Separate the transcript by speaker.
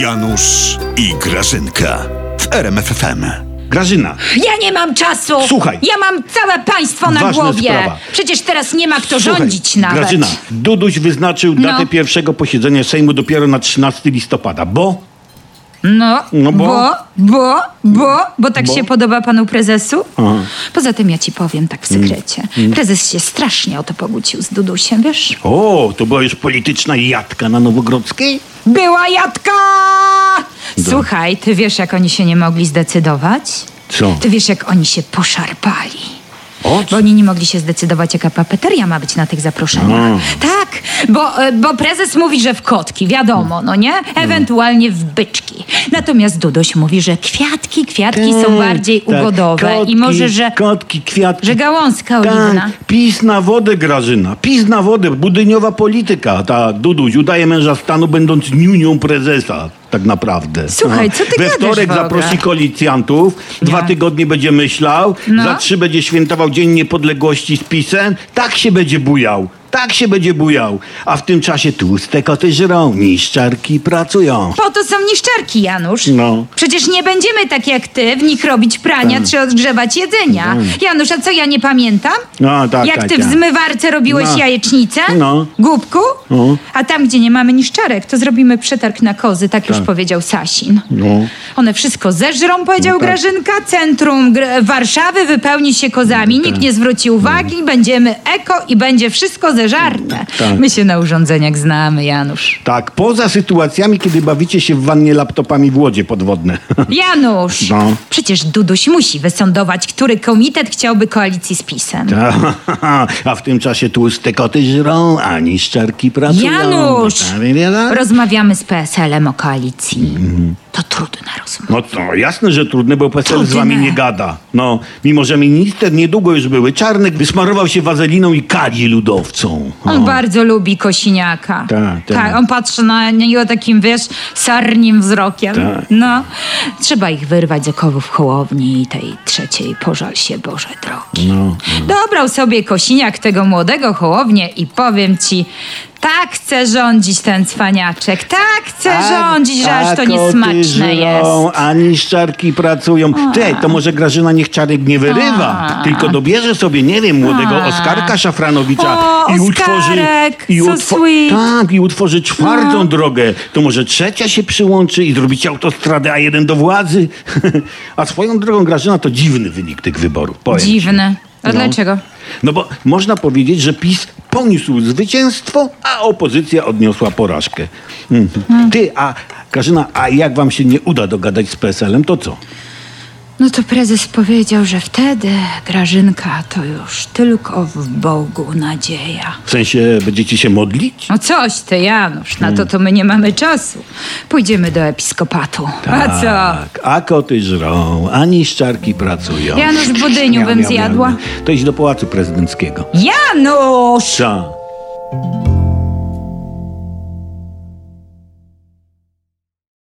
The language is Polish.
Speaker 1: Janusz i Grażynka w RMFFM.
Speaker 2: Grażyna,
Speaker 3: Ja nie mam czasu!
Speaker 2: Słuchaj.
Speaker 3: Ja mam całe państwo na
Speaker 2: Ważna
Speaker 3: głowie!
Speaker 2: sprawa.
Speaker 3: Przecież teraz nie ma kto
Speaker 2: słuchaj,
Speaker 3: rządzić nawet.
Speaker 2: Grażyna, Duduś wyznaczył
Speaker 3: No.
Speaker 2: datę pierwszego posiedzenia Sejmu dopiero na 13 listopada, bo
Speaker 3: No,
Speaker 2: No bo-
Speaker 3: bo, bo, bo, bo, tak
Speaker 2: Bo?
Speaker 3: się podoba panu prezesu?
Speaker 2: Aha. Mm.
Speaker 3: Poza tym ja ci powiem tak w sekrecie. Prezes się strasznie o to pogócił z Dudusiem, wiesz?
Speaker 2: o, to była już polityczna jadka na Nowogrodzkiej?
Speaker 3: Była Jadka! Słuchaj, ty wiesz jak oni się nie mogli zdecydować?
Speaker 2: Co?
Speaker 3: Ty wiesz jak oni się poszarpali.
Speaker 2: O,
Speaker 3: Bo oni nie mogli się zdecydować, jaka papeteria ma być na tych zaproszeniach.
Speaker 2: No.
Speaker 3: Tak, bo, e, bo prezes mówi, że w kotki, wiadomo, no nie? Ewentualnie w byczki. Natomiast Dudoś mówi, że kwiatki, kwiatki są bardziej
Speaker 2: tak,
Speaker 3: ugodowe
Speaker 2: kotki,
Speaker 3: i może, że,
Speaker 2: Kotki, kwiatki.
Speaker 3: że gałązka oliwna.
Speaker 2: tak, pis na wodę, Grażyna, pis na wodę, budyniowa polityka. Ta Duduś udaje męża stanu, będąc niunią prezesa, tak naprawdę.
Speaker 3: Słuchaj,
Speaker 2: Aha.
Speaker 3: co ty
Speaker 2: We
Speaker 3: gadasz
Speaker 2: wtorek
Speaker 3: w ogóle?
Speaker 2: zaprosi koalicjantów, dwa
Speaker 3: Nie.
Speaker 2: tygodnie będzie myślał,
Speaker 3: No.
Speaker 2: za trzy będzie świętował Dzień Niepodległości z pisem. Tak się będzie bujał. Tak się będzie bujał. A w tym czasie tłuste koty żrą, niszczarki pracują.
Speaker 3: Po to są niszczarki, Janusz.
Speaker 2: No. Tak.
Speaker 3: Przecież nie będziemy tak jak ty w nich robić prania czy odgrzewać jedzenia. Janusz, a co ja nie pamiętam?
Speaker 2: No, tak,
Speaker 3: jak
Speaker 2: tak,
Speaker 3: ty
Speaker 2: tak.
Speaker 3: w zmywarce robiłeś
Speaker 2: No.
Speaker 3: jajecznicę?
Speaker 2: No.
Speaker 3: Głupku?
Speaker 2: No.
Speaker 3: A tam, gdzie nie mamy niszczarek, to zrobimy przetarg na kozy, tak, już powiedział Sasin.
Speaker 2: No.
Speaker 3: One wszystko zeżrą, powiedział
Speaker 2: tak.
Speaker 3: Grażynka. Centrum Gr- Warszawy wypełni się kozami.
Speaker 2: No tak.
Speaker 3: Nikt nie zwróci uwagi, będziemy eko i będzie wszystko zeżarte.
Speaker 2: tak.
Speaker 3: My się na urządzeniach znamy, Janusz.
Speaker 2: Tak, poza sytuacjami, kiedy bawicie się w wannie laptopami w łodzie podwodne.
Speaker 3: Janusz!
Speaker 2: No.
Speaker 3: Przecież Duduś musi wysądować, który komitet chciałby koalicji z PiSem.
Speaker 2: A w tym czasie tłuste koty żrą, a niszczarki pracują.
Speaker 3: Janusz!
Speaker 2: Tak, Mhm. tak?
Speaker 3: Rozmawiamy z PSL-em o koalicji. To trudna rozmowa.
Speaker 2: No to jasne, że trudne, bo PSL z
Speaker 3: Trudne.
Speaker 2: wami nie gada. No, mimo że minister niedługo już były, Czarnek wysmarował się wazeliną i kali ludowcą.
Speaker 3: On bardzo lubi Kosiniaka.
Speaker 2: Tak, tak.
Speaker 3: on patrzy na niego takim, wiesz, sarnim wzrokiem.
Speaker 2: Tak.
Speaker 3: No. Trzeba ich wyrwać z okowów hołowni i tej trzeciej, pożal się Boże drogi.
Speaker 2: No.
Speaker 3: Dobrał sobie Kosiniak tego młodego hołownię i powiem ci, tak chce rządzić ten cwaniaczek, tak chce rządzić, że
Speaker 2: tak
Speaker 3: aż to niesmaczne jest.
Speaker 2: żrą, A niszczarki pracują. Ty, to może Grażyna niech Czarek nie wyrywa,
Speaker 3: A.
Speaker 2: tylko dobierze sobie, nie wiem, młodego
Speaker 3: A.
Speaker 2: Oskarka Szafranowicza
Speaker 3: O,
Speaker 2: i utworzy...
Speaker 3: Oskarek,
Speaker 2: I
Speaker 3: so sweet. No.
Speaker 2: tak, i utworzy czwartą drogę. To może trzecia się przyłączy i zrobicie autostradę A1 do władzy. a swoją drogą, Grażyna, to dziwny wynik tych wyborów. Powiem. ci.
Speaker 3: Dziwne. A
Speaker 2: No.
Speaker 3: dlaczego?
Speaker 2: No bo można powiedzieć, że PiS poniósł zwycięstwo, a opozycja odniosła porażkę. Mm.
Speaker 3: Hmm.
Speaker 2: Ty, a Grażyna, a jak wam się nie uda dogadać z PSL-em, to co?
Speaker 3: No to prezes powiedział, że wtedy Grażynka to już tylko w Bogu nadzieja.
Speaker 2: W sensie będziecie się modlić?
Speaker 3: No coś ty, Janusz, na to to my nie mamy czasu. Pójdziemy do episkopatu. A co?
Speaker 2: Tak, a koty żrą, a niszczarki pracują.
Speaker 3: Janusz, w budyniu
Speaker 2: Miau,
Speaker 3: bym
Speaker 2: miau,
Speaker 3: zjadła.
Speaker 2: miau. To idź do Pałacu Prezydenckiego.
Speaker 3: Janusz!
Speaker 2: Co?